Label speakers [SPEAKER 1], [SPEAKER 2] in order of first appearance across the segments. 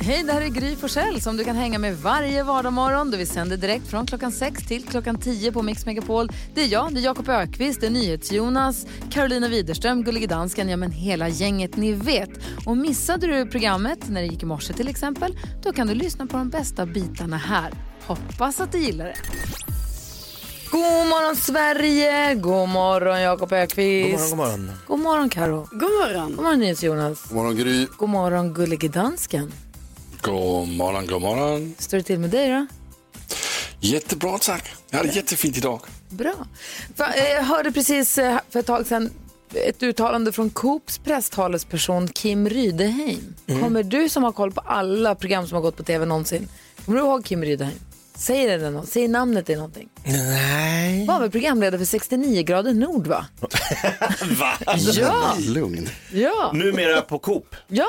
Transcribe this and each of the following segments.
[SPEAKER 1] Hej, det här är Gry Forssell som du kan hänga med varje vardagsmorgon. Vi sänder direkt från klockan 6 till klockan 10 på Mix Megapol. Det är jag, det är Jakob Ökvist, det är NyhetsJonas, Carolina Widerström, Gullige Dansken, ja men hela gänget ni vet. Och missade du programmet när det gick i morse till exempel, då kan du lyssna på de bästa bitarna här. Hoppas att du gillar det. God morgon Sverige! God morgon Jakob Ökvist.
[SPEAKER 2] God morgon, god morgon.
[SPEAKER 1] God morgon Karo.
[SPEAKER 3] God morgon.
[SPEAKER 1] God morgon NyhetsJonas.
[SPEAKER 4] God morgon Gry.
[SPEAKER 1] God morgon Gullige Dansken.
[SPEAKER 4] God morgon, god morgon.
[SPEAKER 1] Står det till med dig då?
[SPEAKER 4] Jättebra tack. Jag hade jättefint idag.
[SPEAKER 1] Bra. Va- eh, Jag hörde precis eh, för ett tag sedan ett uttalande från Coops presstalesperson Kim Rydeheim. Kommer du som har koll på alla program som har gått på tv någonsin, kommer du ihåg Kim Rydeheim? Säger det något? Säger namnet det någonting?
[SPEAKER 2] Nej.
[SPEAKER 1] Var väl programledare för 69 grader nord va?
[SPEAKER 2] Va?
[SPEAKER 1] Ja,
[SPEAKER 4] Lugn.
[SPEAKER 1] ja,
[SPEAKER 2] Numera på Coop.
[SPEAKER 1] ja.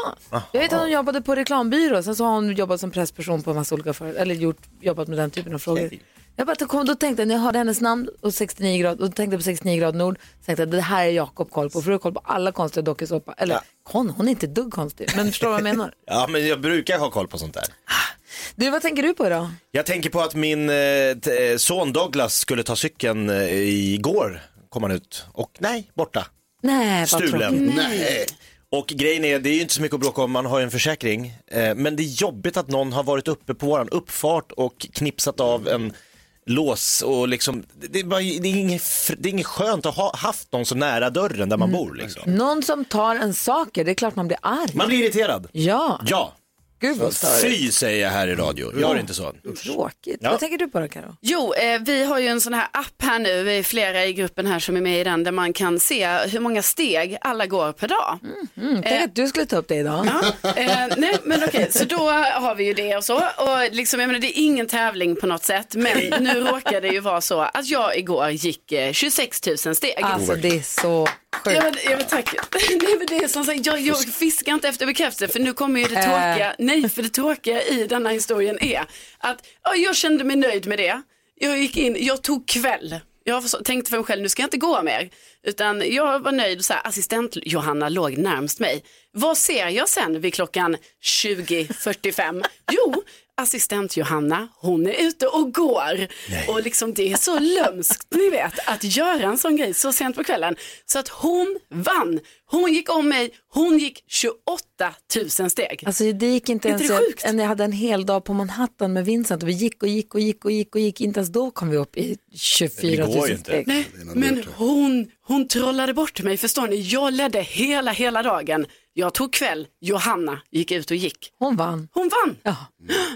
[SPEAKER 1] Jag vet att hon jobbade på reklambyrå, sen så har hon jobbat som pressperson på en massa olika företag, eller gjort, jobbat med den typen av frågor.
[SPEAKER 2] Okej.
[SPEAKER 1] Jag bara, då kom, då tänkte jag, när jag hörde hennes namn och 69 grader, och då tänkte jag på 69 grader nord, så tänkte jag det här är Jakob koll på, för du har koll på alla konstiga dokusåpa. Eller kon, hon är inte ett dugg konstig, men förstår du vad jag menar?
[SPEAKER 2] Ja, men jag brukar ha koll på sånt där.
[SPEAKER 1] Du, vad tänker du på idag?
[SPEAKER 2] Jag tänker på att min eh, t- eh, son Douglas skulle ta cykeln eh, igår, kom han ut. Och nej, borta.
[SPEAKER 1] Nej, vad tråkigt.
[SPEAKER 2] Stulen. Nej. Och grejen är, det är ju inte så mycket att bråka om, man har ju en försäkring. Eh, men det är jobbigt att någon har varit uppe på våran uppfart och knipsat av en lås och liksom, det- det är, bara, det är, inget, fr- det är inget skönt att ha haft någon så nära dörren där man bor liksom.
[SPEAKER 1] Någon som tar en saker, det är klart man blir arg.
[SPEAKER 2] Man blir irriterad.
[SPEAKER 1] Ja,
[SPEAKER 2] Ja,
[SPEAKER 1] gud vad störigt.
[SPEAKER 2] fy säger jag här i radio, gör inte så.
[SPEAKER 1] Tråkigt.
[SPEAKER 2] Ja.
[SPEAKER 1] Vad tänker du på då, Karo?
[SPEAKER 3] Jo, eh, vi har ju en sån här app här nu, vi är flera i gruppen här som är med i den, där man kan se hur många steg alla går per dag.
[SPEAKER 1] Tänk att du skulle ta upp det idag.
[SPEAKER 3] Ja, eh, nej, men okej, så då har vi ju det och så. Och liksom, jag menar, det är ingen tävling på något sätt, men nu råkar det ju vara så att jag igår gick eh, 26 000 steg.
[SPEAKER 1] Alltså det är så
[SPEAKER 3] Ja
[SPEAKER 1] sjukt.
[SPEAKER 3] men, ja, men tack. Nej, men det är som sagt, jag, jag fiskar inte efter bekräftelse för nu kommer ju det tråkiga. Nej, för det tråkiga i denna historien är att ja, jag kände mig nöjd med det. Jag gick in, jag tog kväll. Jag förs- tänkte för mig själv, nu ska jag inte gå mer. Utan jag var nöjd och så här, assistent Johanna låg närmst mig. Vad ser jag sen vid klockan 20.45? Jo, assistent Johanna, hon är ute och går. Och liksom det är så lömskt, ni vet, att göra en sån grej så sent på kvällen. Så att hon vann. Hon gick om mig, hon gick 28 000 steg.
[SPEAKER 1] Alltså det gick inte
[SPEAKER 3] Är
[SPEAKER 1] ens,
[SPEAKER 3] inte det sjukt?
[SPEAKER 1] jag, jag hade en hel dag på Manhattan med Vincent och vi gick och gick och gick och gick och gick, inte ens då kom vi upp i 24
[SPEAKER 2] Det går ju
[SPEAKER 1] 000
[SPEAKER 2] inte.
[SPEAKER 1] steg.
[SPEAKER 3] Nej, men hon, hon trollade bort mig, förstår ni? Jag ledde hela, hela dagen. Jag tog kväll, Johanna gick ut och gick.
[SPEAKER 1] Hon vann.
[SPEAKER 3] Hon vann.
[SPEAKER 1] Ja.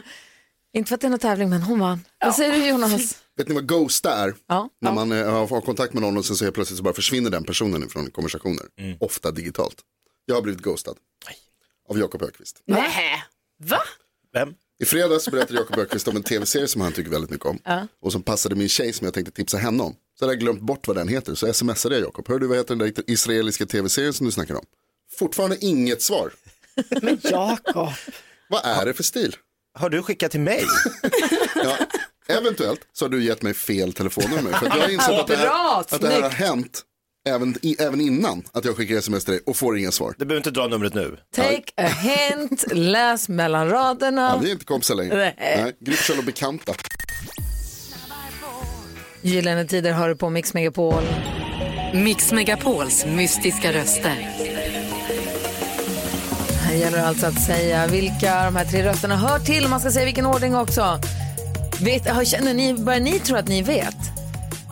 [SPEAKER 1] Inte för att det är någon tävling men hon vann. Vad säger du Jonas?
[SPEAKER 5] Vet ni vad ghosta är?
[SPEAKER 1] Ja.
[SPEAKER 5] När man eh, har har kontakt med någon och sen så helt plötsligt så bara försvinner den personen från konversationer. Ofta digitalt. Jag har blivit ghostad. Av Jakob Ökvist.
[SPEAKER 3] Nej. Va?
[SPEAKER 2] Vem?
[SPEAKER 5] I fredags så berättade Jakob Ökvist om en tv-serie som han tycker väldigt mycket om. Och som passade min tjej som jag tänkte tipsa henne om. Så hade jag glömt bort vad den heter. Så smsade jag Jakob. Hör du vad heter den där israeliska tv-serien som du snackar om? Fortfarande inget svar.
[SPEAKER 3] Men Jakob.
[SPEAKER 5] Vad är det för stil?
[SPEAKER 2] Har du skickat till mig?
[SPEAKER 5] Ja, eventuellt så har du gett mig fel telefonnummer. För att jag har insett att det
[SPEAKER 1] Bra,
[SPEAKER 5] här, att det här har
[SPEAKER 1] snyggt.
[SPEAKER 5] hänt även, i, även innan att jag skickar sms till dig och får inga svar.
[SPEAKER 2] Du behöver inte dra numret nu.
[SPEAKER 1] Take a hint, läs mellan
[SPEAKER 5] Ja,
[SPEAKER 1] raderna.
[SPEAKER 5] vi är inte kompisar längre.
[SPEAKER 1] Nej.
[SPEAKER 5] Nej, Gryfsel och bekanta.
[SPEAKER 1] Gyllene tider hör du på Mix Megapol.
[SPEAKER 6] Mix Megapols mystiska röster.
[SPEAKER 1] Här gäller det alltså att säga vilka de här tre rösterna hör till och man ska säga vilken ordning också. Vet, har- känner ni, börjar ni tro att ni vet?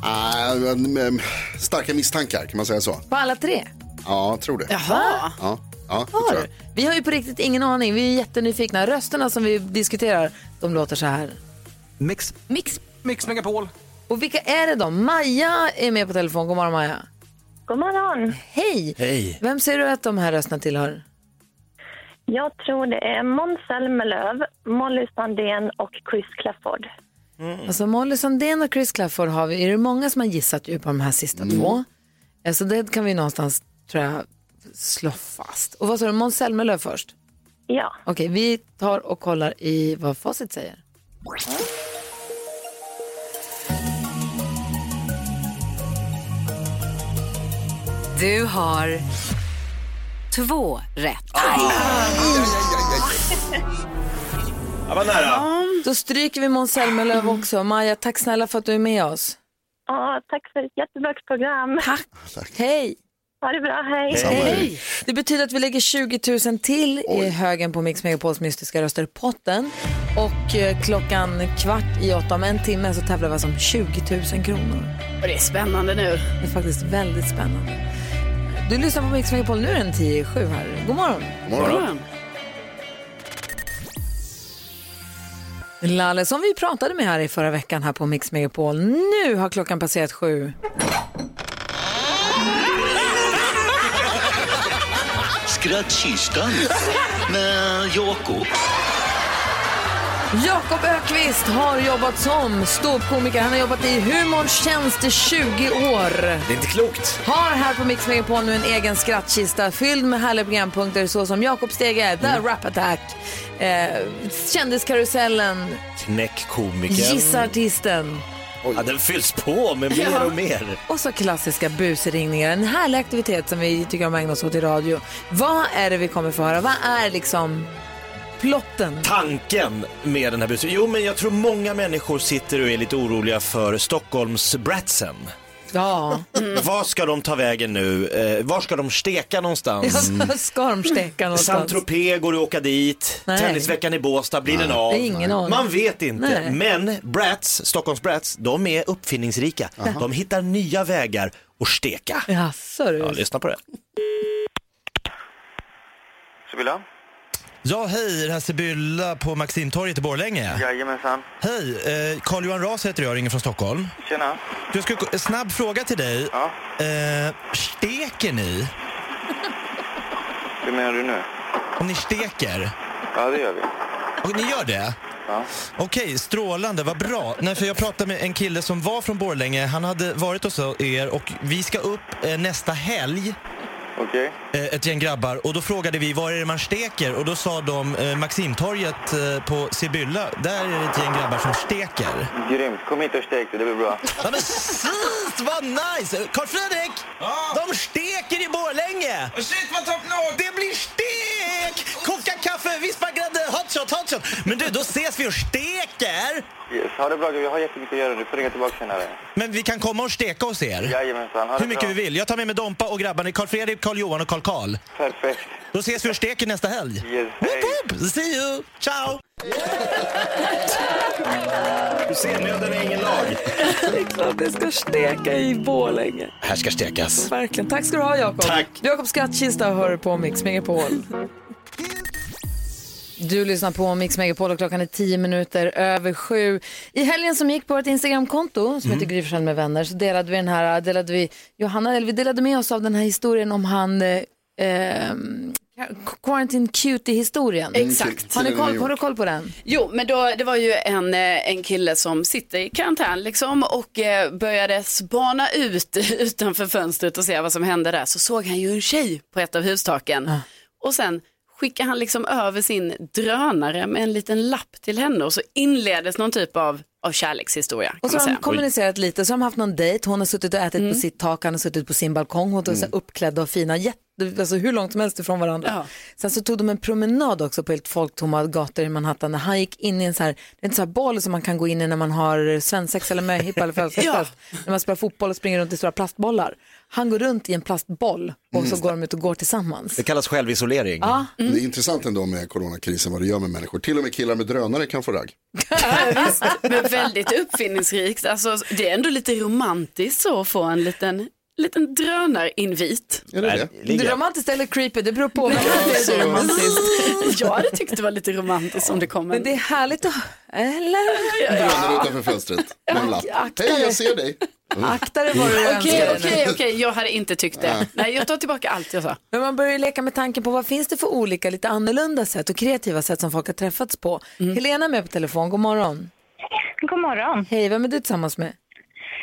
[SPEAKER 5] Ah, men, men, starka misstankar, kan man säga så?
[SPEAKER 1] På alla tre?
[SPEAKER 5] Ja, tror det.
[SPEAKER 3] Jaha.
[SPEAKER 5] Ja, ja, det tror
[SPEAKER 1] Har.
[SPEAKER 5] jag.
[SPEAKER 1] Vi har ju på riktigt ingen aning. Vi är jättenyfikna. Rösterna som vi diskuterar, de låter så här.
[SPEAKER 7] Mix. Mix. Mix Megapol.
[SPEAKER 1] Och vilka är det då? Maja är med på telefon. God morgon Maja.
[SPEAKER 8] God morgon.
[SPEAKER 1] Hej!
[SPEAKER 2] Hej.
[SPEAKER 1] Vem ser du att de här rösterna tillhör?
[SPEAKER 5] Mm.
[SPEAKER 8] Jag tror det är Måns Zelmerlöw, Molly Sandén och Chris Clafford.
[SPEAKER 1] Alltså Molly Sandén och Chris Clafford har vi. Är det många som har gissat ju på de här sista
[SPEAKER 5] Mm.
[SPEAKER 1] två? Alltså det kan vi någonstans, tror jag, slå fast. Och vad sa du, Måns Zelmerlöw först?
[SPEAKER 8] Ja,
[SPEAKER 1] Okej, vi tar och kollar i vad facit säger.
[SPEAKER 6] Du har två rätt.
[SPEAKER 2] Jag var nära.
[SPEAKER 1] Då stryker vi Måns Zelmerlöw också. Maja, tack snälla för att du är med oss.
[SPEAKER 8] Ja, tack för ett jättebra program.
[SPEAKER 1] Tack. Hej.
[SPEAKER 8] Ha det bra, hej.
[SPEAKER 5] Samma här.
[SPEAKER 1] Det betyder att vi lägger 20 000 till i högen på Mix Megapols mystiska röster-potten. Och eh, klockan kvart i åtta om en timme så tävlar vi alltså om 20 000 kronor.
[SPEAKER 3] Och det är spännande nu.
[SPEAKER 1] Det är faktiskt väldigt spännande. Du lyssnar på Mix Megapol, nu är den 10 i sju här. God morgon.
[SPEAKER 3] Morgon.
[SPEAKER 1] Lalle, som vi pratade med här i förra veckan här på Mix Megapol. Nu har klockan passerat sju.
[SPEAKER 9] Skrattkistan med Jakob.
[SPEAKER 1] Jakob Ökvist har jobbat som ståuppkomiker. Han har jobbat i humorns tjänst i 20 år.
[SPEAKER 2] Det är inte klokt.
[SPEAKER 1] Har här på Mix Megapol nu en egen skrattkista fylld med härliga programpunkter såsom Jakob Stege, The Rap Attack, eh, Kändiskarusellen,
[SPEAKER 2] Knäck komikern.
[SPEAKER 1] Gissa Artisten
[SPEAKER 2] Ja, den fylls på med mer och mer.
[SPEAKER 1] och så klassiska busringningar. En härlig aktivitet som vi tycker om att ägna oss åt i radio. Vad är det vi kommer få höra? Vad är liksom plotten?
[SPEAKER 2] tanken med den här bussen? Jo, men jag tror många människor sitter och är lite oroliga för Stockholmsbratsen.
[SPEAKER 1] Ja,
[SPEAKER 2] Var ska de ta vägen nu? Eh, var ska de steka någonstans?
[SPEAKER 1] ska de steka någonstans?
[SPEAKER 2] Saint-Tropez, går det att åka dit?
[SPEAKER 1] Nej.
[SPEAKER 2] Tennisveckan i Båstad, blir den av?
[SPEAKER 1] Det är ingen aning.
[SPEAKER 2] Man vet inte.
[SPEAKER 1] Nej.
[SPEAKER 2] Men Brats, Stockholms Brats, de är uppfinningsrika. De hittar nya vägar att steka.
[SPEAKER 1] Jaså du.
[SPEAKER 2] Ja, lyssna på det.
[SPEAKER 10] Sibylla?
[SPEAKER 11] Ja, hej, det här är Sibylla på Maximtorget i Borlänge.
[SPEAKER 10] Jajamensan.
[SPEAKER 11] Hej, eh, Carl-Johan Ras heter jag, ringer från Stockholm.
[SPEAKER 10] Tjena.
[SPEAKER 11] Du, ska, en snabb fråga till dig.
[SPEAKER 10] Ja.
[SPEAKER 11] Eh, steker ni?
[SPEAKER 10] Hur menar du nu?
[SPEAKER 11] Om ni steker?
[SPEAKER 10] Ja, det gör vi.
[SPEAKER 11] Och ni gör det?
[SPEAKER 10] Ja.
[SPEAKER 11] Okej, strålande, vad bra. Nej, för jag pratade med en kille som var från Borlänge. Han hade varit hos er och vi ska upp eh, nästa helg.
[SPEAKER 10] Okej.
[SPEAKER 11] eh, ett gäng grabbar och då frågade vi var är det man steker och då sa de eh, Maximtorget eh, på Sibylla, där är det ett gäng grabbar som steker.
[SPEAKER 10] Grymt. Kom hit och stek det, det blir bra.
[SPEAKER 11] Ja men sist, vad nice! Carl Fredrik! De steker i Borlänge!
[SPEAKER 7] Shit vad topplag!
[SPEAKER 11] Det blir stek! Koka kaffe, vispa grädde, hotshot, hotshot! Men du, då ses vi och steker!
[SPEAKER 10] Yes. Ha det bra, jag har jättemycket att göra. Du får ringa tillbaka senare.
[SPEAKER 11] Men vi kan komma och steka hos er.
[SPEAKER 10] Jajamensan. Ha det
[SPEAKER 11] Hur mycket
[SPEAKER 10] bra.
[SPEAKER 11] vi vill. Jag tar med mig Dompa och grabbarna, Carl Fredrik, Carl Johan och Carl Karl.
[SPEAKER 10] Perfekt.
[SPEAKER 11] Då ses vi och steker nästa helg.
[SPEAKER 10] Yes. Hej.
[SPEAKER 11] Woop, woop. See you! Ciao!
[SPEAKER 2] Du ser, nöden är ingen lag.
[SPEAKER 1] Det är klart det ska steka i Borlänge.
[SPEAKER 2] Här ska stekas.
[SPEAKER 1] Verkligen. Tack ska du ha, Jakob.
[SPEAKER 2] Tack.
[SPEAKER 1] Jakob Skattkista hör på Mix Megapol. Du lyssnar på Mix Megapol och klockan är tio minuter över sju. I helgen som gick på vårt Instagramkonto som heter Gry Forssell med vänner så delade vi den här, delade vi, Johanna, eller vi delade med oss av den här historien om han, eh, eh, Quarantine Cutie-historien.
[SPEAKER 3] Exakt.
[SPEAKER 1] Har, ni
[SPEAKER 5] Killen i
[SPEAKER 1] koll,
[SPEAKER 5] New
[SPEAKER 1] har du koll på den?
[SPEAKER 3] Jo, men då, det var ju en, eh, en kille som sitter i karantän liksom och eh, började spana ut utanför fönstret och se vad som hände där. Så såg han ju en tjej på ett av hustaken och sen skickade han liksom över sin drönare med en liten lapp till henne och så inleddes någon typ av, av kärlekshistoria. Kan
[SPEAKER 1] Och så
[SPEAKER 3] man
[SPEAKER 1] har de
[SPEAKER 3] säga. Mm.
[SPEAKER 1] kommunicerat lite, så har de haft någon dejt, hon har suttit och ätit på sitt tak, han har suttit på sin balkong, hon är så här uppklädda och fina, jätte, alltså hur långt som helst ifrån varandra.
[SPEAKER 3] Ja.
[SPEAKER 1] Sen så tog de en promenad också på helt folktomma gator i Manhattan, när han gick in i en så här, det är en så här boll som man kan gå in i när man har svensexa eller möhippa eller födelsedagsfest, när man spelar fotboll och springer runt i stora plastbollar. Han går runt i en plastboll och
[SPEAKER 3] Mm.
[SPEAKER 1] så går de ut och går tillsammans.
[SPEAKER 2] Det kallas självisolering.
[SPEAKER 5] Det är intressant ändå med coronakrisen vad det gör med människor. Till och med killar med drönare kan få ragg.
[SPEAKER 3] Ja, visst. Men väldigt uppfinningsrikt. Alltså, det är ändå lite romantiskt så att få en liten, liten drönarinvit.
[SPEAKER 5] Är det det?
[SPEAKER 1] Det är
[SPEAKER 2] Ligga.
[SPEAKER 1] romantiskt eller creepy, det beror på. Men det är romantiskt.
[SPEAKER 3] Jag hade tyckt det var lite romantiskt om det kom
[SPEAKER 1] Men
[SPEAKER 3] en.
[SPEAKER 1] det är härligt att... Eller?
[SPEAKER 5] Drönare utanför fönstret. Med en lapp.
[SPEAKER 1] akta
[SPEAKER 5] Hej,
[SPEAKER 1] dig.
[SPEAKER 5] jag ser dig.
[SPEAKER 1] Akta dig vad du önskar
[SPEAKER 3] Okej,
[SPEAKER 1] dig nu.
[SPEAKER 3] okej, okej, jag hade inte tyckt det. Nej, jag tar tillbaka allt jag sa.
[SPEAKER 1] Men man börjar ju leka med tanken på vad finns det för olika, lite annorlunda sätt och kreativa sätt som folk har träffats på. Helena är med på telefon, god morgon.
[SPEAKER 8] God morgon.
[SPEAKER 1] Hej, vem är du tillsammans med?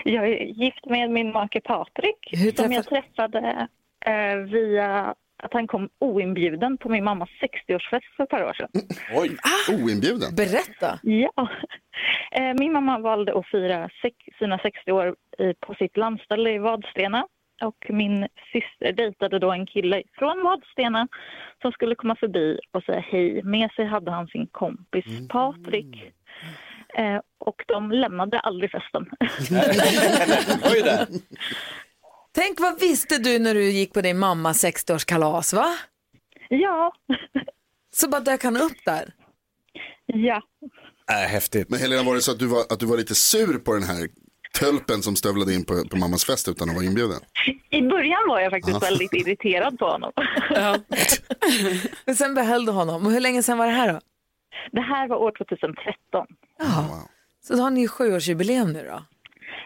[SPEAKER 8] Jag är gift med min make Patrik
[SPEAKER 1] Hur
[SPEAKER 8] som jag träffade eh, via att han kom oinbjuden på min mammas 60-årsfest för ett par år sedan.
[SPEAKER 2] Oj.
[SPEAKER 5] Oinbjuden.
[SPEAKER 1] Berätta.
[SPEAKER 8] Ja. Eh, Min mamma valde att fira sex, sina 60 år i, på sitt landställe i Vadstena och min syster dejtade då en kille från Vadstena som skulle komma förbi och säga hej. Med sig hade han sin kompis Patrik. Eh, och de lämnade aldrig festen.
[SPEAKER 2] Oj där.
[SPEAKER 1] Tänk vad visste du när du gick på din mammas 60-årskalas va?
[SPEAKER 8] Ja.
[SPEAKER 1] Så bara dök han upp där?
[SPEAKER 8] Ja.
[SPEAKER 2] Äh, häftigt.
[SPEAKER 5] Men Helena, var det så att du var, att du var lite sur på den här tölpen som stövlade in på, på mammas fest utan att vara inbjuden?
[SPEAKER 8] I början var jag faktiskt
[SPEAKER 5] Aha.
[SPEAKER 8] väldigt irriterad på honom.
[SPEAKER 1] Men sen behöll du honom. Och hur länge sen var det här då?
[SPEAKER 8] Det här var år 2013.
[SPEAKER 1] Ja. Så då har ni ju sjuårsjubileum nu då?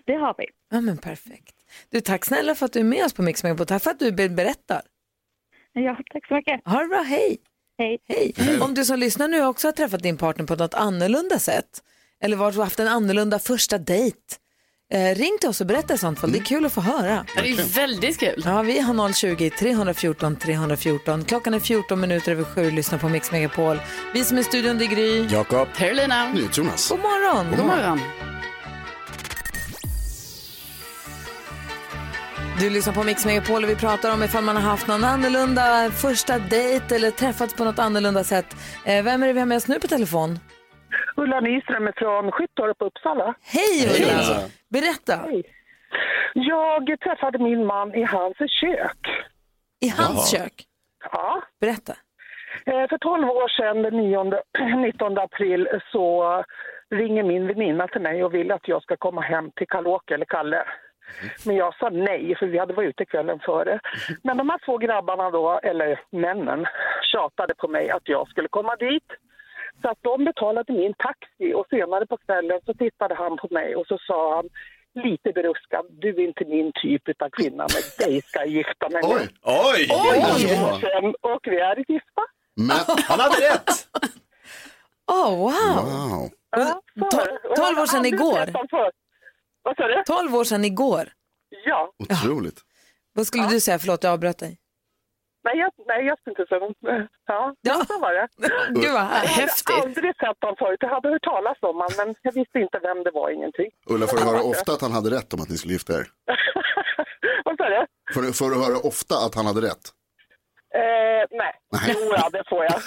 [SPEAKER 8] Det har vi.
[SPEAKER 1] Ja men perfekt. Du, tack snälla för att du är med oss på Mix Megapol. Tack för att du be- berättar.
[SPEAKER 8] Ja, tack så mycket.
[SPEAKER 1] Ha det bra, hej.
[SPEAKER 8] Hej.
[SPEAKER 1] hej. Om du som lyssnar nu också har träffat din partner på något annorlunda sätt eller varit haft en annorlunda första dejt, eh, ring till oss och berätta i sånt fall. Det är kul att få höra.
[SPEAKER 3] Ja, Det är ju väldigt kul.
[SPEAKER 1] Ja, vi har 020-314 314. Klockan är 14 minuter över sju. Lyssna på Mix Megapol. Vi som är i studion, det är Gry.
[SPEAKER 2] Jakob.
[SPEAKER 3] Carolina.
[SPEAKER 5] Jonas.
[SPEAKER 1] God morgon.
[SPEAKER 3] God morgon.
[SPEAKER 1] Du lyssnar på Mix Megapol och vi pratar om ifall man har haft någon annorlunda första dejt eller träffats på något annorlunda sätt. Eh, vem är det vi har med oss nu på telefon?
[SPEAKER 12] Ulla Nyström från Skyttorp, Uppsala.
[SPEAKER 1] Hej Ulla! Berätta!
[SPEAKER 12] Jag träffade min man i hans kök.
[SPEAKER 1] I hans
[SPEAKER 12] Jaha.
[SPEAKER 1] kök?
[SPEAKER 12] Ja.
[SPEAKER 1] Berätta.
[SPEAKER 12] Eh, För 12 år sedan, den 9, 19 april, så ringer min väninna till mig och vill att jag ska komma hem till Kallåke eller Kalle. Men jag sa nej, för vi hade varit ute kvällen före. Men de här två grabbarna då, eller männen, tjatade på mig att jag skulle komma dit. Så att de betalade min taxi och senare på kvällen så tittade han på mig och så sa han lite beruskad, du är inte min typ av kvinna, men dig ska jag gifta mig med.
[SPEAKER 9] Oj. Oj.
[SPEAKER 12] Det är
[SPEAKER 9] Oj.
[SPEAKER 1] Alltså,
[SPEAKER 12] tio år sedan och vi är gifta.
[SPEAKER 2] Han hade rätt!
[SPEAKER 1] Åh, Oh, wow!
[SPEAKER 5] Wow.
[SPEAKER 12] Ja, så är det. Och jag
[SPEAKER 1] 12 år
[SPEAKER 12] har
[SPEAKER 1] sedan
[SPEAKER 12] aldrig
[SPEAKER 1] igår.
[SPEAKER 12] träffat honom förr. Vad sa du?
[SPEAKER 1] 12 år sedan igår.
[SPEAKER 12] Ja,
[SPEAKER 5] Otroligt.
[SPEAKER 1] Vad skulle du säga? Förlåt, jag avbröt dig.
[SPEAKER 12] nej jag, nej, jag ska inte säga något. Ja, ja. så var det.
[SPEAKER 1] Gud, vad
[SPEAKER 12] häftigt. Jag hade aldrig sett honom förut. Jag hade hört talas om honom, men jag visste inte vem det var, ingenting.
[SPEAKER 5] Ulla, får du höra ofta att han hade rätt om att ni skulle gifta er?
[SPEAKER 12] Vad sa du?
[SPEAKER 5] Får du, får du höra ofta att han hade rätt?
[SPEAKER 12] Eh, nej, jo, ja, det får jag.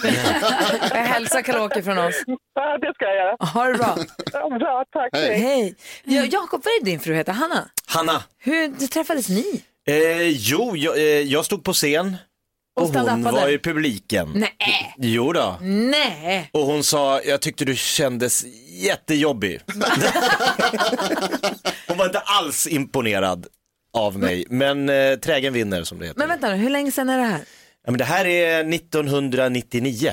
[SPEAKER 1] Jag hälsar Karaoke från oss.
[SPEAKER 12] Ja, det ska jag göra.
[SPEAKER 1] Ha det bra.
[SPEAKER 12] Ja, Bra, tack.
[SPEAKER 2] Hej.
[SPEAKER 1] Hej. Ja, Jakob, vad är din fru heter? Hanna?
[SPEAKER 2] Hanna.
[SPEAKER 1] Hur träffades ni?
[SPEAKER 2] Eh, jo, jag, eh, jag stod på scen och, hon
[SPEAKER 1] stand-upade.
[SPEAKER 2] var i publiken.
[SPEAKER 1] Nej.
[SPEAKER 2] Jo då.
[SPEAKER 1] Nej.
[SPEAKER 2] Och hon sa, jag tyckte du kändes jättejobbig. hon var inte alls imponerad av mig, men eh, trägen vinner som det heter.
[SPEAKER 1] Men vänta nu, hur länge sedan är det här?
[SPEAKER 2] Ja, men det här är 1999.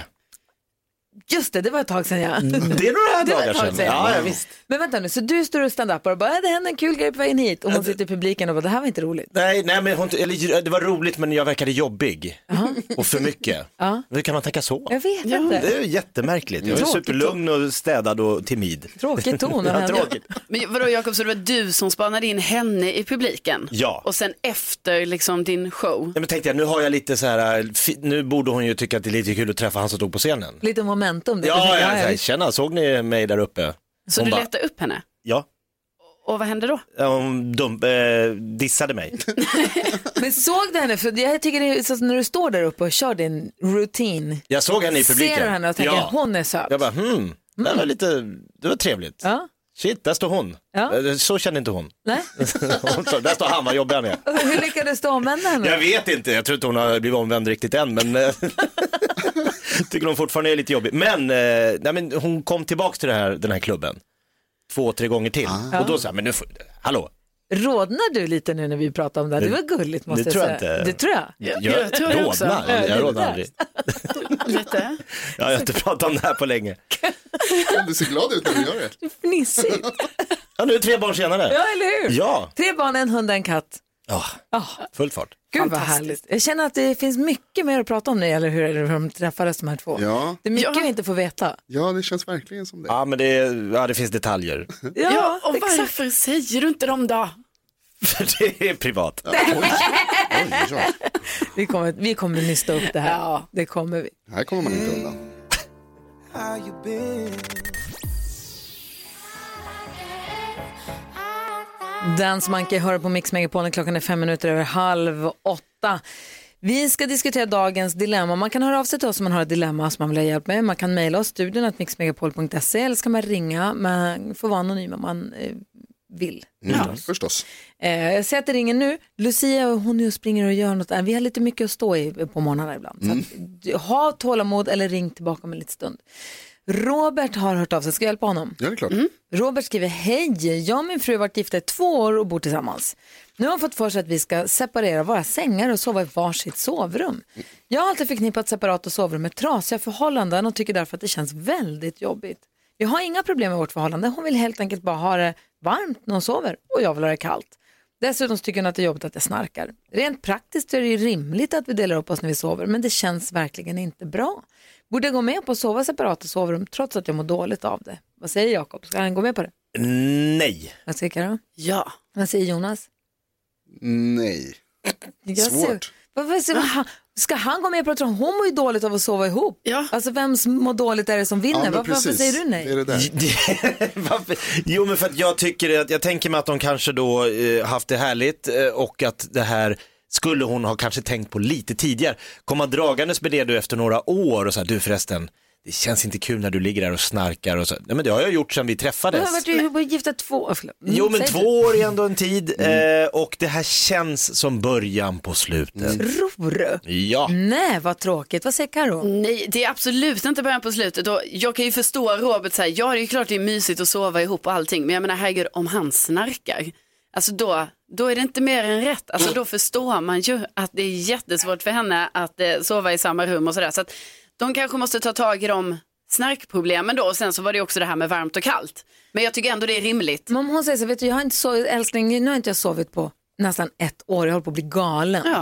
[SPEAKER 1] Just det, det var ett tag sedan ja.
[SPEAKER 2] Mm. Det är några
[SPEAKER 1] Det var ett
[SPEAKER 2] dagar
[SPEAKER 1] tag
[SPEAKER 2] sedan. Ja, ja, visst.
[SPEAKER 1] Men vänta nu, så du står och stand-upar och bara, "Ja, det hände en kul grej på vägen hit och hon sitter i publiken och bara, det här var inte roligt.
[SPEAKER 2] Nej, nej men hon, eller, det var roligt men jag verkade jobbig. Och för mycket.
[SPEAKER 1] Ja.
[SPEAKER 2] Hur kan man tänka så?
[SPEAKER 1] Jag vet
[SPEAKER 2] Ja,
[SPEAKER 1] inte.
[SPEAKER 2] Det är ju jättemärkligt. Jag är
[SPEAKER 1] Tråkigt.
[SPEAKER 2] superlugn och städad och timid.
[SPEAKER 1] Tråkig ton av
[SPEAKER 2] ja,
[SPEAKER 1] henne.
[SPEAKER 2] tråkigt.
[SPEAKER 3] Men vadå Jakob, så det var du som spanade in henne i publiken?
[SPEAKER 2] Ja.
[SPEAKER 3] Och sen efter liksom din show?
[SPEAKER 2] Nej, men tänkte jag, nu har jag lite så här, fi- nu borde hon ju tycka att det är lite kul att träffa han som stod på scenen.
[SPEAKER 1] Lite momentum. där.
[SPEAKER 2] Ja, ja,
[SPEAKER 1] ja,
[SPEAKER 2] ja, tjena, såg ni mig där uppe?
[SPEAKER 3] Så
[SPEAKER 2] hon
[SPEAKER 3] du
[SPEAKER 2] bara,
[SPEAKER 3] letade upp henne?
[SPEAKER 2] Ja,
[SPEAKER 3] Och vad hände då?
[SPEAKER 2] hon dump, eh, dissade mig.
[SPEAKER 1] Men såg du henne? För jag tycker det är så att när du står där uppe och kör din routine.
[SPEAKER 2] Jag såg henne i publiken.
[SPEAKER 1] Ser du henne och tänker,
[SPEAKER 2] Ja.
[SPEAKER 1] hon är söt.
[SPEAKER 2] Jag bara, hmm, det var lite, det var trevligt.
[SPEAKER 1] Ja.
[SPEAKER 2] Shit, där står hon.
[SPEAKER 1] Ja.
[SPEAKER 2] Eh, Så kände inte hon.
[SPEAKER 1] Nej.
[SPEAKER 2] Hon står- där står han, vad jobbig han är.
[SPEAKER 1] Och Hur lyckades du omvända henne?
[SPEAKER 2] Jag vet inte, jag tror inte hon har blivit omvänd riktigt än, men eh, tycker hon fortfarande är lite jobbig. Men, eh, nej, men hon kom tillbaka till det här, den här klubben två, tre gånger till. Och då sa jag, men nu får, hallå,
[SPEAKER 1] Rodnar du lite nu när vi pratar om det här? Det
[SPEAKER 2] Det-
[SPEAKER 1] var gulligt måste
[SPEAKER 2] det
[SPEAKER 1] jag
[SPEAKER 2] tror
[SPEAKER 1] säga.
[SPEAKER 2] jag inte.
[SPEAKER 1] Det tror jag.
[SPEAKER 2] jag,
[SPEAKER 3] jag tror det också.
[SPEAKER 2] rodnar,
[SPEAKER 1] Ja, det
[SPEAKER 2] jag
[SPEAKER 1] är
[SPEAKER 2] rodnar
[SPEAKER 1] det.
[SPEAKER 2] aldrig.
[SPEAKER 3] Lite?
[SPEAKER 2] Jag har inte pratat om det här på länge.
[SPEAKER 5] Du ser glad ut när du gör det.
[SPEAKER 1] Fnissigt.
[SPEAKER 2] Ja, nu är det tre barn senare.
[SPEAKER 1] Ja, eller hur?
[SPEAKER 2] Ja,
[SPEAKER 1] Tre barn, en hund, en katt.
[SPEAKER 2] Ja, full fart.
[SPEAKER 1] Gud vad härligt. Jag känner att det finns mycket mer att prata om när det gäller hur hur de träffades de här två.
[SPEAKER 5] Ja.
[SPEAKER 1] Det är mycket vi inte får veta.
[SPEAKER 5] ja, det känns verkligen som det.
[SPEAKER 2] Ja, men det, ja, det finns detaljer.
[SPEAKER 1] Ja,
[SPEAKER 3] och varför säger du inte dem då?
[SPEAKER 2] För det är privat.
[SPEAKER 1] Vi kommer, vi kommer nysta upp det här. Det kommer vi.
[SPEAKER 5] Här kommer man inte undan.
[SPEAKER 9] How
[SPEAKER 1] Dance Monkey hör på Mix Megapolen. Klockan är fem minuter över halv åtta. Vi ska diskutera dagens dilemma. Man kan höra av sig till oss om man har ett dilemma som man vill ha hjälp med. Man kan mejla oss studion att mixmegapol.se eller ska man ringa. Man får vara anonym om man eh, vill.
[SPEAKER 5] Mm, förstås.
[SPEAKER 1] Eh, jag ser att det ringer nu. Lucia hon är och springer och gör något. Eh, Vi har lite mycket att stå i på morgnarna ibland. Så att, du- ha tålamod eller ring tillbaka om en liten stund. Robert har hört av sig, ska jag hjälpa honom?
[SPEAKER 5] Ja, det är klart.
[SPEAKER 1] Robert skriver, hej, jag och min fru har varit gifta i två år och bor tillsammans. Nu har hon fått för sig att vi ska separera våra sängar och sova i varsitt sovrum. Jag har alltid förknippat separata sovrum med trasiga förhållanden och tycker därför att det känns väldigt jobbigt. Jag har inga problem med vårt förhållande, hon vill helt enkelt bara ha det varmt när hon sover och jag vill ha det kallt. Dessutom tycker hon att det är jobbigt att jag snarkar. Rent praktiskt är det ju rimligt att vi delar upp oss när vi sover, men det känns verkligen inte bra. Borde jag gå med på att sova i separata sovrum trots att jag mår dåligt av det? Vad säger Jakob? Ska han gå med på det?
[SPEAKER 2] Nej.
[SPEAKER 1] Vad säger Karo?
[SPEAKER 3] Ja.
[SPEAKER 1] Vad säger Jonas?
[SPEAKER 5] Nej.
[SPEAKER 1] Jag ser-
[SPEAKER 5] Svårt.
[SPEAKER 1] Vad, vad, säger- han, ska han gå med på det? Hon mår ju dåligt av att sova ihop. Ja. Alltså vems mår dåligt är det som vinner?
[SPEAKER 2] Ja, men
[SPEAKER 1] varför, varför
[SPEAKER 2] precis.
[SPEAKER 1] säger du nej?
[SPEAKER 5] Det är det där.
[SPEAKER 2] Jo, men för att jag tycker att, jag tänker mig att de kanske då eh, haft det härligt eh, och att det här skulle hon ha kanske tänkt på lite tidigare. Komma dragandes med det du efter några år och så här, du förresten, det känns inte kul när du ligger där och snarkar och så. Nej, men det har jag gjort sedan vi
[SPEAKER 1] Du
[SPEAKER 2] träffades.
[SPEAKER 1] har varit ihop och gifta två år. förlåt. Mm,
[SPEAKER 2] Jo men
[SPEAKER 1] säg
[SPEAKER 2] två år är ändå en tid
[SPEAKER 3] Mm.
[SPEAKER 2] eh, och det här känns som början på slutet.
[SPEAKER 1] Tror du?
[SPEAKER 2] Ja.
[SPEAKER 3] Mm.
[SPEAKER 1] Nej, vad tråkigt. Vad säger Karo?
[SPEAKER 3] Nej, det är absolut inte början på slutet. Och jag kan ju förstå Robert, så här, ja det är ju klart det är mysigt att sova ihop och allting, men jag menar herregud om han snarkar, alltså då, då är det inte mer än rätt. Alltså då förstår man ju att det är jättesvårt för henne att eh, sova i samma rum och sådär. Så att de kanske måste ta tag i de snarkproblemen då och sen så var det ju också det här med varmt och kallt. Men jag tycker ändå det är rimligt.
[SPEAKER 1] Men om hon säger så, vet du, jag har inte sovit, älskling, nu har inte jag sovit på nästan ett år, jag håller på att bli galen.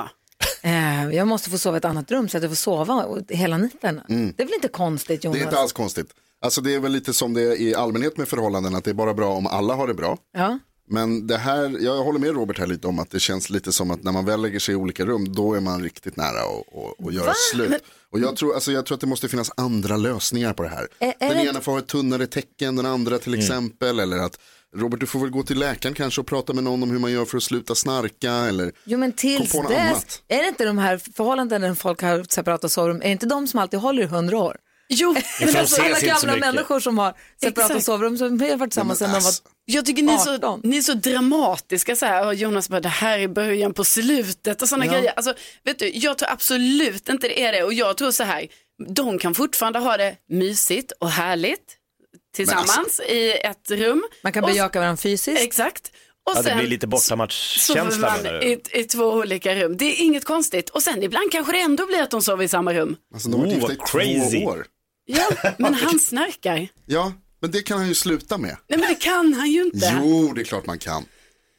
[SPEAKER 1] Eh, jag måste få sova i ett annat rum så att jag får sova och- hela nätterna.
[SPEAKER 5] Mm.
[SPEAKER 1] Det är väl inte konstigt
[SPEAKER 5] Det
[SPEAKER 1] Jonas?
[SPEAKER 5] är inte alls konstigt. Alltså det är väl lite som det är i allmänhet med förhållanden, att det är bara bra om alla har det bra.
[SPEAKER 1] Ja.
[SPEAKER 5] Men det här, jag håller med Robert här lite om att det känns lite som att när man väl lägger sig i olika rum, då är man riktigt nära att- att att göra
[SPEAKER 1] Va? Men-
[SPEAKER 5] slut. Och jag tror, alltså jag tror att det måste finnas andra lösningar på det här.
[SPEAKER 1] Ä- är
[SPEAKER 5] den
[SPEAKER 1] det-
[SPEAKER 5] ena får ha ett tunnare tecken, den andra
[SPEAKER 2] Mm.
[SPEAKER 5] till exempel, eller att Robert du får väl gå till läkaren kanske och prata med någon om hur man gör för att sluta snarka eller
[SPEAKER 1] Jo men tills
[SPEAKER 5] Kom på något
[SPEAKER 1] dess,
[SPEAKER 5] annat.
[SPEAKER 1] är det inte de här förhållandena där folk har separata sovrum, är det inte de som alltid håller i hundra år?
[SPEAKER 3] Jo,
[SPEAKER 1] men
[SPEAKER 3] de
[SPEAKER 1] alltså
[SPEAKER 3] ses
[SPEAKER 1] alla
[SPEAKER 3] inte så
[SPEAKER 1] gamla
[SPEAKER 3] mycket.
[SPEAKER 1] människor som har separata
[SPEAKER 3] Exakt.
[SPEAKER 1] sovrum som har varit tillsammans sedan de
[SPEAKER 5] alltså.
[SPEAKER 1] var...
[SPEAKER 3] Jag tycker ni är, så, ni är så dramatiska så här, och Jonas bara det här är början på slutet och sådana
[SPEAKER 1] Ja.
[SPEAKER 3] grejer. Alltså, vet du, jag tror absolut inte det är det och jag tror så här, de kan fortfarande ha det mysigt och härligt tillsammans i ett rum.
[SPEAKER 1] Man kan
[SPEAKER 3] Och-
[SPEAKER 1] bejaka varandra fysiskt.
[SPEAKER 3] Exakt.
[SPEAKER 2] Ja, det
[SPEAKER 3] sen-
[SPEAKER 2] blir lite bortamatchkänsla
[SPEAKER 3] sover
[SPEAKER 2] menar
[SPEAKER 3] man
[SPEAKER 2] du?
[SPEAKER 3] i, i två olika rum. Det är inget konstigt. Och sen ibland kanske det ändå blir att de sover i samma rum.
[SPEAKER 5] Alltså de har varit
[SPEAKER 2] Oh,
[SPEAKER 5] gifta i
[SPEAKER 2] vad crazy.
[SPEAKER 5] två år.
[SPEAKER 3] Ja, men han snarkar.
[SPEAKER 5] Ja, men det kan han ju sluta med.
[SPEAKER 3] Nej men det kan han ju inte.
[SPEAKER 5] Jo, det är klart man kan.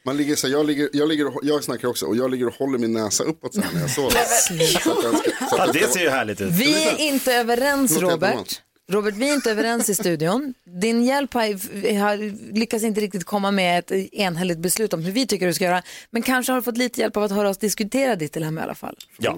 [SPEAKER 5] Man ligger så här, jag, ligger, jag, ligger och, jag snackar också och jag ligger och håller min näsa uppåt så här när jag sover. Så att jag ska- så att
[SPEAKER 2] Ja,
[SPEAKER 5] jag ska-
[SPEAKER 2] det ser ju härligt
[SPEAKER 3] Mm.
[SPEAKER 2] ut.
[SPEAKER 1] Vi är inte överens
[SPEAKER 5] Låt det
[SPEAKER 1] Robert.
[SPEAKER 5] vara.
[SPEAKER 1] Robert, vi är inte överens i studion. Din hjälp har, har lyckats inte riktigt komma med ett enhälligt beslut om hur vi tycker du ska göra. Men kanske har du fått lite hjälp av att höra oss diskutera ditt dilemma i alla fall.
[SPEAKER 2] Ja.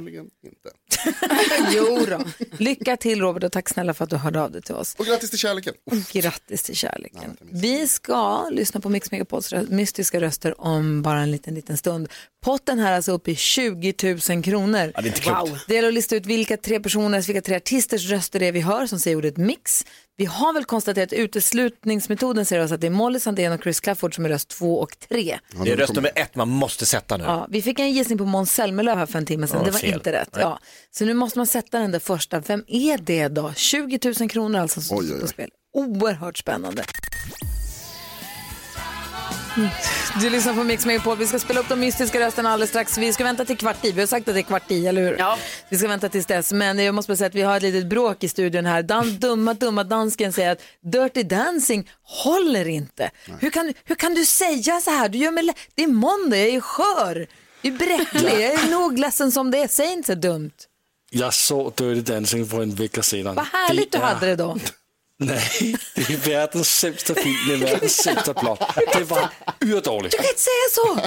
[SPEAKER 1] jo då. Lycka till Robert och tack snälla för att du hörde av dig till oss.
[SPEAKER 5] Och grattis till kärleken.
[SPEAKER 1] Grattis till kärleken. Vi ska lyssna på Mix Megapols rö- mystiska röster om bara en liten, liten stund. Potten här är alltså uppe i 20 000 kronor.
[SPEAKER 2] Ja, det är inte klokt. Wow.
[SPEAKER 1] Det gäller att lista ut vilka tre personers, vilka tre artisters röster det är vi hör som säger ordet mix. Vi har väl konstaterat att uteslutningsmetoden säger oss att det är Molly Sandén och Chris Clafford som är röst två och tre.
[SPEAKER 2] Det är röst nummer ett man måste sätta nu.
[SPEAKER 1] Ja, vi fick en gissning på Måns Zelmerlöw här för en timme sedan.
[SPEAKER 2] Ja,
[SPEAKER 1] det var
[SPEAKER 2] fel.
[SPEAKER 1] inte rätt.
[SPEAKER 2] Nej.
[SPEAKER 1] Ja. Så nu måste man sätta den där första. Vem är det då? 20 000 kronor alltså som står på spel. Oerhört spännande. Mm. Du lyssnar på Mix Megapol. Vi ska spela upp de mystiska rösterna alldeles strax. Vi ska vänta till kvart i. Vi har sagt att det är kvart i, eller hur? Ja. Vi ska vänta tills dess. Men jag måste bara säga att vi har ett litet bråk i studion här. Dan, dumma, dumma dansken säger att Dirty Dancing håller inte. Hur kan, hur kan du säga så här? Du gör mig lä- det är måndag, jag är skör. Jag är bräcklig, jag är nog ledsen som det är. Säg inte så dumt.
[SPEAKER 13] Jag såg Dirty Dancing för en vecka sedan.
[SPEAKER 1] Vad härligt du
[SPEAKER 13] är-
[SPEAKER 1] hade det då.
[SPEAKER 13] Nej, det är världens sämsta film med världens sämsta plot. Det var urdåligt.
[SPEAKER 1] Du kan inte säga så.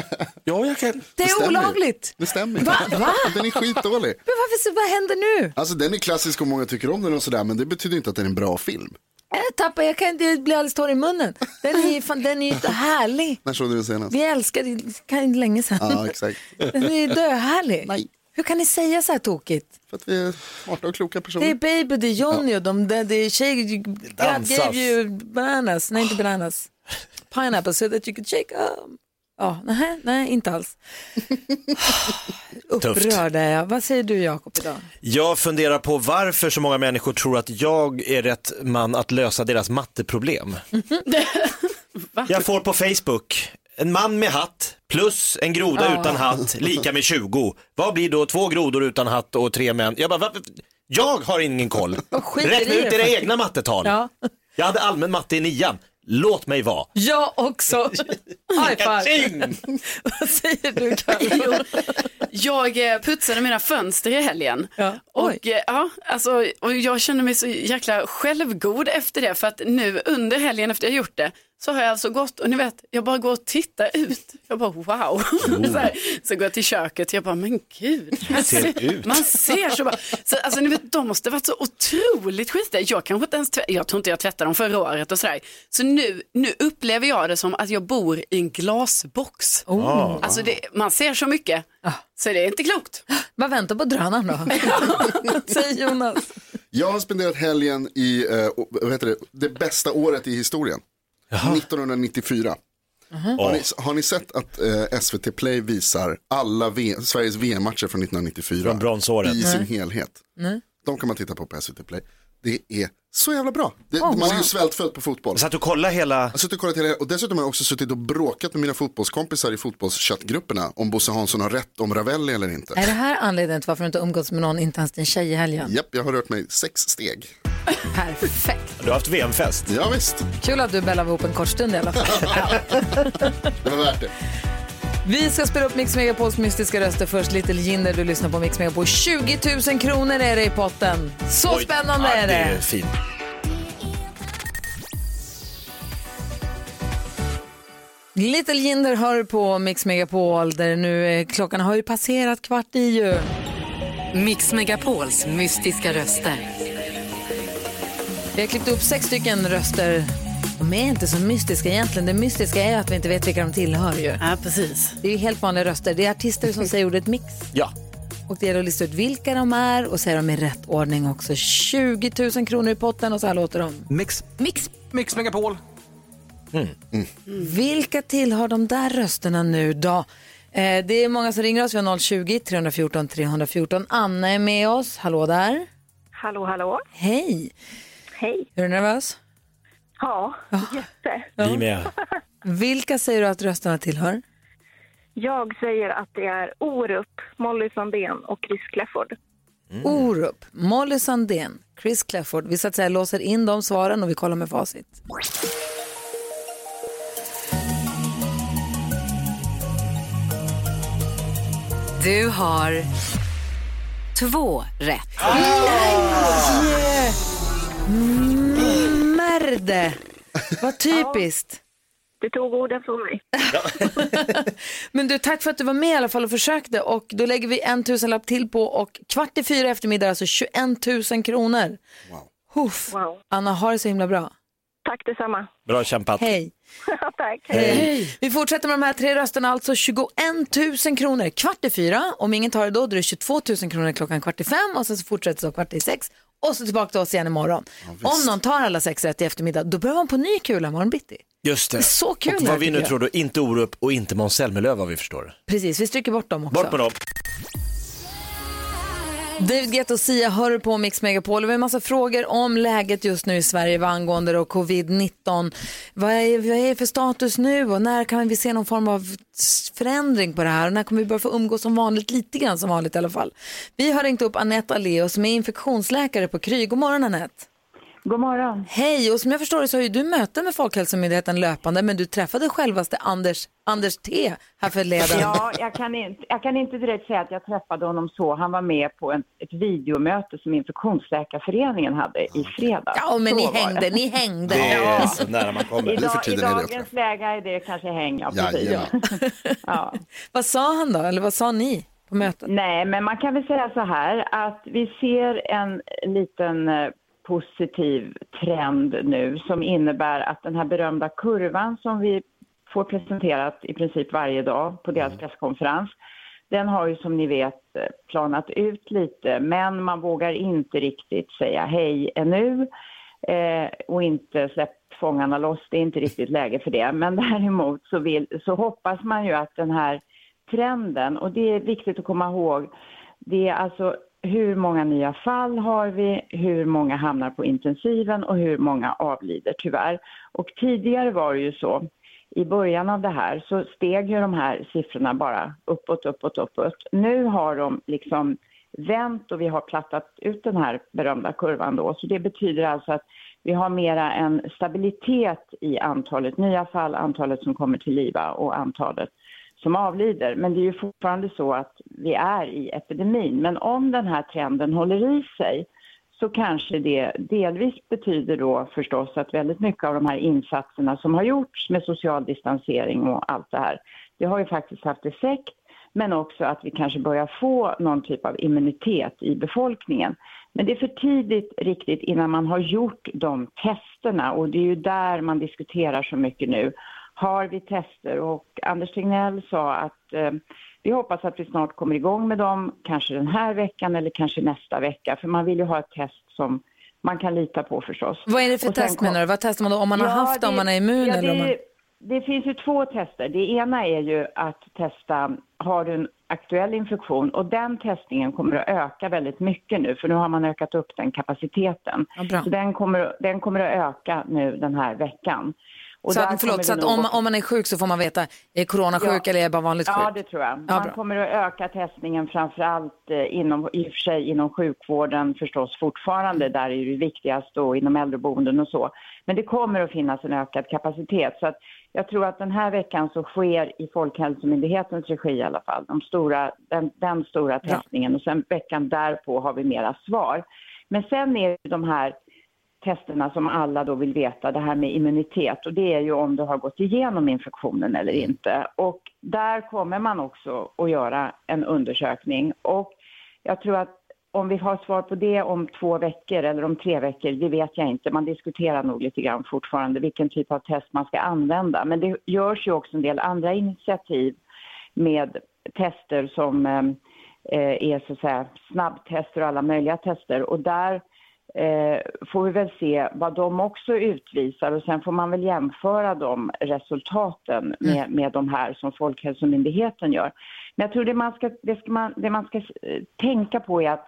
[SPEAKER 13] Jo, jag kan.
[SPEAKER 1] Det är
[SPEAKER 5] stämmer.
[SPEAKER 1] olagligt.
[SPEAKER 5] Det stämmer inte.
[SPEAKER 1] Va? Va?
[SPEAKER 5] Den är skitdålig.
[SPEAKER 1] Men varför, så- vad händer nu?
[SPEAKER 5] Alltså den är klassisk och många tycker om den och sådär men det betyder inte att den är en bra film.
[SPEAKER 1] Jag tappar, Äh, jag kan inte, jag blir alldeles torr i munnen. Den är ju fan, den är ju inte härlig.
[SPEAKER 5] När såg du den senast?
[SPEAKER 1] Vi älskade den kan- länge sedan.
[SPEAKER 5] Ja, exakt.
[SPEAKER 1] Den är ju döhärlig. Hur kan ni säga så här tokigt?
[SPEAKER 5] För att vi är smarta och kloka personer.
[SPEAKER 1] Det är Baby, det är Johnny och de, det det är tjej, God
[SPEAKER 5] dansas.
[SPEAKER 1] gave you bananas, nej inte bananas, pineapple so that you could shake um. Ja, nej, nej, inte alls.
[SPEAKER 2] Tufft.
[SPEAKER 1] Upprörd är jag. Vad säger du Jakob idag?
[SPEAKER 2] Jag funderar på varför så många människor tror att jag är rätt man att lösa deras matteproblem. Jag får på Facebook, en man med hatt plus en groda
[SPEAKER 14] Ja.
[SPEAKER 2] utan hatt lika med 20. Vad blir då två grodor utan hatt och tre män? Jag bara, varför? Jag har ingen koll.
[SPEAKER 1] skiter i
[SPEAKER 2] Räkna
[SPEAKER 1] det
[SPEAKER 2] ut era
[SPEAKER 1] faktiskt.
[SPEAKER 2] egna mattetal.
[SPEAKER 1] Ja.
[SPEAKER 2] Jag hade allmän matte i nian. Låt mig vara.
[SPEAKER 1] Jag också. High five. Vad säger du Karin?
[SPEAKER 3] Jag eh, putsade mina fönster i helgen. Och, eh, ja, alltså, och jag känner mig så jäkla självgod efter det. För att nu under helgen efter jag gjort det så har jag alltså gått och ni vet, jag bara går och tittar ut. Jag bara wow. Så, här, så går jag till köket jag bara men gud. Man
[SPEAKER 15] ser ut?
[SPEAKER 3] Man ser så bara. Så, alltså ni vet, de måste varit så otroligt skitiga. Jag kanske inte ens tvä- jag tror inte jag tvättade dem förra året och sådär. Så nu, nu upplever jag det som att jag bor i en glasbox.
[SPEAKER 15] Ah.
[SPEAKER 1] Oh.
[SPEAKER 3] Alltså det, man ser så mycket. Så det är inte klokt.
[SPEAKER 1] Vad väntar på drönaren då? Säger Jonas.
[SPEAKER 5] Jag har spenderat helgen i eh, o- vad heter det, det bästa året i historien. 1994. Har, ni, har ni sett att eh, SVT Play visar alla v- Sveriges VM-matcher från 1994?
[SPEAKER 2] Från bronsåret.
[SPEAKER 5] I sin
[SPEAKER 2] Nej.
[SPEAKER 5] helhet.
[SPEAKER 1] Nej.
[SPEAKER 5] De kan man titta på på SVT Play. Det är så jävla bra. Det,
[SPEAKER 1] Oh,
[SPEAKER 5] man är
[SPEAKER 1] wow.
[SPEAKER 5] ju svältfödd på fotboll.
[SPEAKER 2] Så att du kollar hela... Jag
[SPEAKER 5] har suttit och kollat hela och dessutom har jag också suttit och bråkat med mina fotbollskompisar i fotbollschattgrupperna om Bosse Hansson har rätt om Ravelli eller inte.
[SPEAKER 1] Är det här anledningen till varför du inte umgås med någon, inte ens din tjej i helgen?
[SPEAKER 5] Japp, jag har rört mig sex steg.
[SPEAKER 1] Perfekt.
[SPEAKER 2] Du har haft VM-fest.
[SPEAKER 5] Ja, visst.
[SPEAKER 1] Kul att du bällade ihop en kort stund i alla fall.
[SPEAKER 5] Det var värt det.
[SPEAKER 1] Vi ska spela upp Mix Megapols mystiska röster först. Little Jinder, du lyssnar på Mix Megapol. 20 000 kronor är det i potten. Så
[SPEAKER 2] Oj.
[SPEAKER 1] spännande
[SPEAKER 2] Ja,
[SPEAKER 1] är
[SPEAKER 2] Det
[SPEAKER 1] det.
[SPEAKER 2] är fint.
[SPEAKER 1] Little Jinder hör på Mix Megapol där nu är, klockan har ju passerat kvart i ju.
[SPEAKER 6] Mix Megapols mystiska röster.
[SPEAKER 1] Vi har klippt upp sex stycken röster. De är inte så mystiska egentligen. Det mystiska är att vi inte vet vilka de tillhör ju.
[SPEAKER 3] Ja, precis.
[SPEAKER 1] Det är ju helt vanliga röster. Det är artister som säger ordet mix.
[SPEAKER 2] Ja.
[SPEAKER 1] Och det gäller att lista ut vilka de är och säga dem i rätt ordning också. 20 000 kronor i potten och så här låter de.
[SPEAKER 7] Mix.
[SPEAKER 1] Mix.
[SPEAKER 7] Mix Megapol.
[SPEAKER 1] Vilka tillhör de där rösterna nu då? Eh, det är många som ringer oss. Vi har 020 314 314. Anna är med oss. Hallå där.
[SPEAKER 15] Hallå, hallå.
[SPEAKER 1] Hej.
[SPEAKER 15] Hej.
[SPEAKER 1] Är du nervös?
[SPEAKER 15] Ja, jätte.
[SPEAKER 2] Vi med.
[SPEAKER 1] Vilka säger du att rösterna tillhör?
[SPEAKER 15] Jag säger att det är Orup, Molly Sandén och Chris Clafford.
[SPEAKER 1] Orup, Molly Sandén, Chris Clafford. Vi så att säga låser in de svaren och vi kollar med facit.
[SPEAKER 6] Du har två rätt.
[SPEAKER 1] Ah! Yeah. Mm, Merde! Vad typiskt.
[SPEAKER 15] Du tog orden från mig.
[SPEAKER 1] Men du, tack för att du var med i alla fall och försökte. Och då lägger vi en tusenlapp till på och kvart i fyra i eftermiddag, alltså 21 000 kronor.
[SPEAKER 5] Wow.
[SPEAKER 1] Huff. Anna, har det så himla bra.
[SPEAKER 15] Tack detsamma.
[SPEAKER 2] Bra kämpat.
[SPEAKER 1] Hej.
[SPEAKER 15] Tack.
[SPEAKER 1] Hej. Vi fortsätter med de här tre rösterna, alltså 21 000 kronor kvart i fyra. Om ingen tar det då, då är det 22 000 kronor klockan kvart i fem och sen så fortsätter det så kvart i sex. Och så tillbaka till oss igen imorgon. Om någon tar alla sex rätt i eftermiddag, då behöver man på ny kula imorgon bitti.
[SPEAKER 2] Just det.
[SPEAKER 1] är så kul
[SPEAKER 2] Och
[SPEAKER 1] det här,
[SPEAKER 2] vad vi
[SPEAKER 1] tycker
[SPEAKER 2] nu
[SPEAKER 1] jag.
[SPEAKER 2] tror då, inte Orup och inte Måns Zelmerlöw vad vi förstår.
[SPEAKER 1] Precis, vi stryker bort dem också.
[SPEAKER 2] Bort med dem.
[SPEAKER 1] David Guetta och Sia hör på Mix Megapol. Vi har en massa frågor om läget just nu i Sverige vad angående då covid-19. Vad är, vad är det för status nu och när kan vi se någon form av förändring på det här? Och när kommer vi börja få umgås som vanligt, lite grann som vanligt i alla fall? Vi har ringt upp Anette Aleo som är infektionsläkare på Kry. God morgon Anette.
[SPEAKER 16] God morgon.
[SPEAKER 1] Hej, och som jag förstår det så har ju du möte med Folkhälsomyndigheten löpande men du träffade självaste Anders, Anders T här förleden.
[SPEAKER 16] Ja, jag kan, inte, jag kan inte direkt säga att jag träffade honom så. Han var med på en, ett videomöte som Infektionsläkarföreningen hade i fredags.
[SPEAKER 1] Ja, men ni
[SPEAKER 16] Så var det.
[SPEAKER 1] hängde, ni hängde.
[SPEAKER 16] Ja.
[SPEAKER 2] nära man kommer.
[SPEAKER 16] Idag, I dagens läge är det kanske hänga. precis.
[SPEAKER 1] Vad sa han då, eller vad sa ni på mötet?
[SPEAKER 16] Nej, men man kan väl säga så här att vi ser en liten eh, positiv trend nu som innebär att den här berömda kurvan som vi får presenterat i princip varje dag på deras presskonferens, den har ju som ni vet eh, planat ut lite, men man vågar inte riktigt säga hej ännu eh, och inte släpp fångarna loss. Det är inte riktigt läge för det. Men däremot så, vill, så hoppas man ju att den här trenden, och det är viktigt att komma ihåg, det är alltså hur många nya fall har vi, hur många hamnar på intensiven och hur många avlider tyvärr. Och tidigare var det ju så, i början av det här så steg ju de här siffrorna bara uppåt, uppåt, uppåt. Nu har de liksom vänt och vi har plattat ut den här berömda kurvan då. Så det betyder alltså att vi har mera en stabilitet i antalet nya fall, antalet som kommer till liva och antalet som avlider. Men det är ju fortfarande så att vi är i epidemin. Men om den här trenden håller i sig så kanske det delvis betyder då förstås att väldigt mycket av de här insatserna som har gjorts med social distansering och allt det här, det har ju faktiskt haft effekt men också att vi kanske börjar få någon typ av immunitet i befolkningen. Men det är för tidigt riktigt innan man har gjort de testerna och det är ju där man diskuterar så mycket nu. Har vi tester? Och Anders Tegnell sa att eh, vi hoppas att vi snart kommer igång med dem, kanske den här veckan eller kanske nästa vecka, för man vill ju ha ett test som man kan lita på förstås.
[SPEAKER 1] Vad är det för
[SPEAKER 16] Och sen
[SPEAKER 1] test
[SPEAKER 16] kom-
[SPEAKER 1] menar du? Vad testar man då? Om man har haft det, om man är immun
[SPEAKER 16] ja, det,
[SPEAKER 1] eller om man...
[SPEAKER 16] det finns ju två tester. Det ena är ju att testa, har du en aktuell infektion? Och den testningen kommer att öka väldigt mycket nu, för nu har man ökat upp den kapaciteten.
[SPEAKER 1] bra.
[SPEAKER 16] så den kommer, den kommer att öka nu den här veckan. Och
[SPEAKER 1] Så
[SPEAKER 16] där
[SPEAKER 1] att,
[SPEAKER 16] kommer
[SPEAKER 1] förlåt, så
[SPEAKER 16] det
[SPEAKER 1] att
[SPEAKER 16] nog
[SPEAKER 1] om,
[SPEAKER 16] att-
[SPEAKER 1] om man är sjuk så får man veta, är jag coronasjuk
[SPEAKER 16] Ja.
[SPEAKER 1] eller är jag bara vanligt sjuk?
[SPEAKER 16] Ja, det tror jag.
[SPEAKER 1] Ja,
[SPEAKER 16] Man
[SPEAKER 1] bra.
[SPEAKER 16] kommer att öka testningen framförallt eh, inom, i och för sig inom sjukvården förstås fortfarande, där är det viktigast och inom äldreboenden och så. Men det kommer att finnas en ökad kapacitet så att jag tror att den här veckan så sker i Folkhälsomyndighetens regi i alla fall, de stora, den, den stora testningen och sen veckan därpå har vi mera svar. Men sen är det de här testerna som alla då vill veta, det här med immunitet. Och det är ju om du har gått igenom infektionen eller inte. Och där kommer man också att göra en undersökning. Och jag tror att om vi har svar på det om två veckor eller om tre veckor, det vet jag inte. Man diskuterar nog lite grann fortfarande vilken typ av test man ska använda. Men det görs ju också en del andra initiativ med tester som eh, eh, är så att säga snabbtester och alla möjliga tester. Och där eh, får vi väl se vad de också utvisar och sen får man väl jämföra de resultaten med, med de här som Folkhälsomyndigheten gör. Men jag tror det man ska, det ska, man, det man ska eh, tänka på är att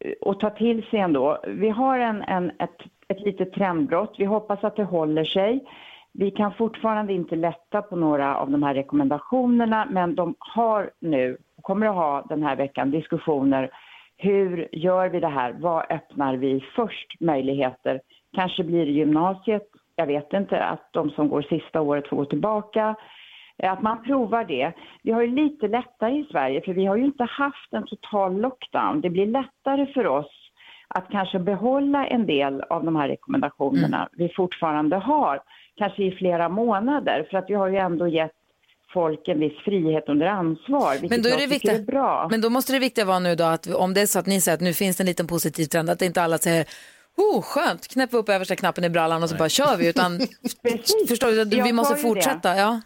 [SPEAKER 16] eh, och ta till sig ändå. Vi har en, en, ett, ett litet trendbrott. Vi hoppas att det håller sig. Vi kan fortfarande inte lätta på några av de här rekommendationerna men de har nu, och kommer att ha den här veckan, diskussioner hur gör vi det här? Vad öppnar vi först möjligheter? Kanske blir det gymnasiet, jag vet inte, att de som går sista året får gå tillbaka. Eh, Att man provar det. Vi har ju lite lättare i Sverige för vi har ju inte haft en total lockdown. Det blir lättare för oss att kanske behålla en del av de här rekommendationerna
[SPEAKER 1] Mm.
[SPEAKER 16] vi fortfarande har, kanske i flera månader, för att vi har ju ändå gett folk en viss frihet under ansvar, vilket
[SPEAKER 1] Men då, är
[SPEAKER 16] jag
[SPEAKER 1] det
[SPEAKER 16] tycker
[SPEAKER 1] viktiga,
[SPEAKER 16] är bra.
[SPEAKER 1] men då måste det viktiga vara nu då att om det är så att ni säger att nu finns det en liten positiv trend, att inte alla säger Oh, skönt, knäpp upp översta knappen i brallan och så bara kör vi. Utan, förstår du, att vi
[SPEAKER 16] Jag
[SPEAKER 1] måste
[SPEAKER 16] sa ju det.
[SPEAKER 1] fortsätta. Ja.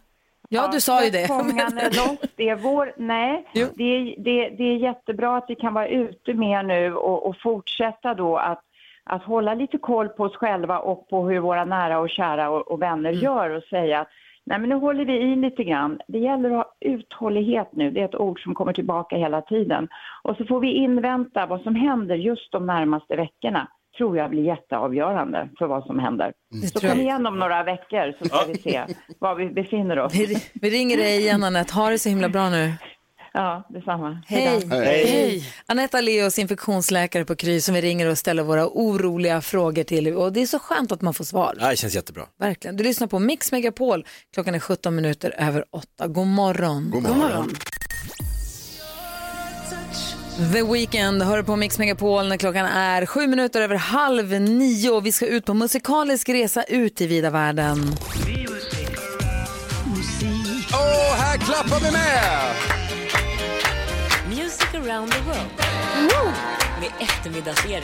[SPEAKER 1] ja, du sa ju det.
[SPEAKER 16] Fångarna loss, det är vår... Nej, det är, det, det är jättebra att vi kan vara ute mer nu och, och fortsätta då att, att hålla lite koll på oss själva och på hur våra nära och kära och, och vänner
[SPEAKER 1] Mm.
[SPEAKER 16] gör och säga att nej men nu håller vi i lite grann. Det gäller att ha uthållighet nu, det är ett ord som kommer tillbaka hela tiden. Och så får vi invänta vad som händer just de närmaste veckorna tror jag blir jätteavgörande för vad som händer. Så
[SPEAKER 1] Mm. tror jag.
[SPEAKER 16] kom igen om några veckor så ska vi se var vi befinner oss.
[SPEAKER 1] Vi, vi ringer dig igen Anette, ha det så himla bra nu.
[SPEAKER 16] Ja, detsamma.
[SPEAKER 1] Hej.
[SPEAKER 16] Hej.
[SPEAKER 1] Anette Leos infektionsläkare på Kry som vi ringer och ställer våra oroliga frågor till. Och det är så skönt att man får svar.
[SPEAKER 2] Ja, det känns jättebra.
[SPEAKER 1] Verkligen. Du lyssnar på Mix Megapol. Klockan är 17 minuter över 8. God morgon.
[SPEAKER 2] God morgon. God morgon.
[SPEAKER 1] The Weeknd hör på Mix Megapol när klockan är sju minuter över halv nio och vi ska ut på musikalisk resa ut i vida världen.
[SPEAKER 14] Och här klappar vi med!
[SPEAKER 17] Music around the world. Med eftermiddagsserie.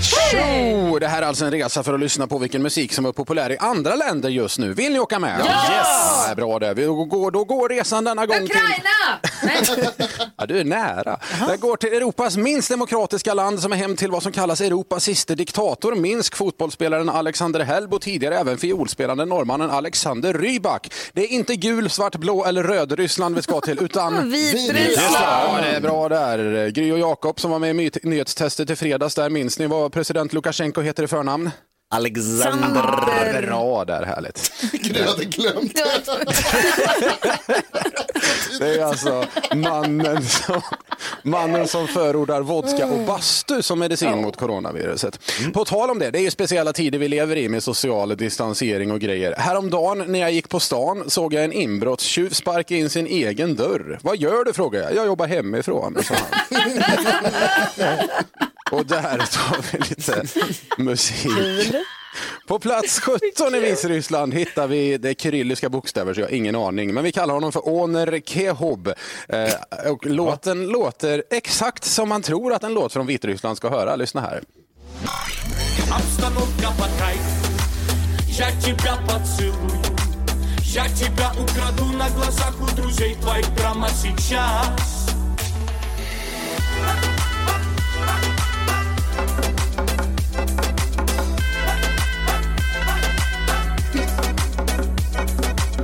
[SPEAKER 17] Tjo! Det här är alltså en resa för att lyssna på vilken musik som är populär i andra länder just nu. Vill ni åka med?
[SPEAKER 1] Ja! Yes!
[SPEAKER 17] Det är bra det. Vi går, då går resan denna gång till...
[SPEAKER 1] Ukraina!
[SPEAKER 17] Ja, du är nära. Det går till Europas minst demokratiska land som är hem till vad som kallas Europas sista diktator. Minsk, fotbollsspelaren Alexander Helbo, tidigare även fiolspelande norrmannen Alexander Rybak. Det är inte gul, svart, blå eller röd Ryssland vi ska till, utan
[SPEAKER 1] Vitryssland.
[SPEAKER 17] Ja, det är bra där. Gry och Jakob som var med i my- nyhetstestet i fredags, där minns ni vad president Lukasjenko heter i förnamn?
[SPEAKER 2] Alexander.
[SPEAKER 17] Bra där, härligt.
[SPEAKER 5] Gry hade glömt det.
[SPEAKER 17] Det är alltså mannen som, mannen som förordar vodka och bastu som medicin mot coronaviruset. På tal om det, det är ju speciella tider vi lever i med social distansering och grejer. Häromdagen när jag gick på stan såg jag en inbrottstjuv sparka in sin egen dörr. Vad gör du? frågade jag. Jag jobbar hemifrån, sa han. Och där tar vi lite musik. På plats 17 i Vitryssland hittar vi det kyrilliska bokstäver, så jag har ingen aning. Men vi kallar honom för Oner Kehob. Eh, och låten låter exakt som man tror att en låt från Vitryssland ska höra. Lyssna här.
[SPEAKER 18] Обстановка под кайф Я тебя поцелую Я тебя украду на глазах у друзей твоих прямо сейчас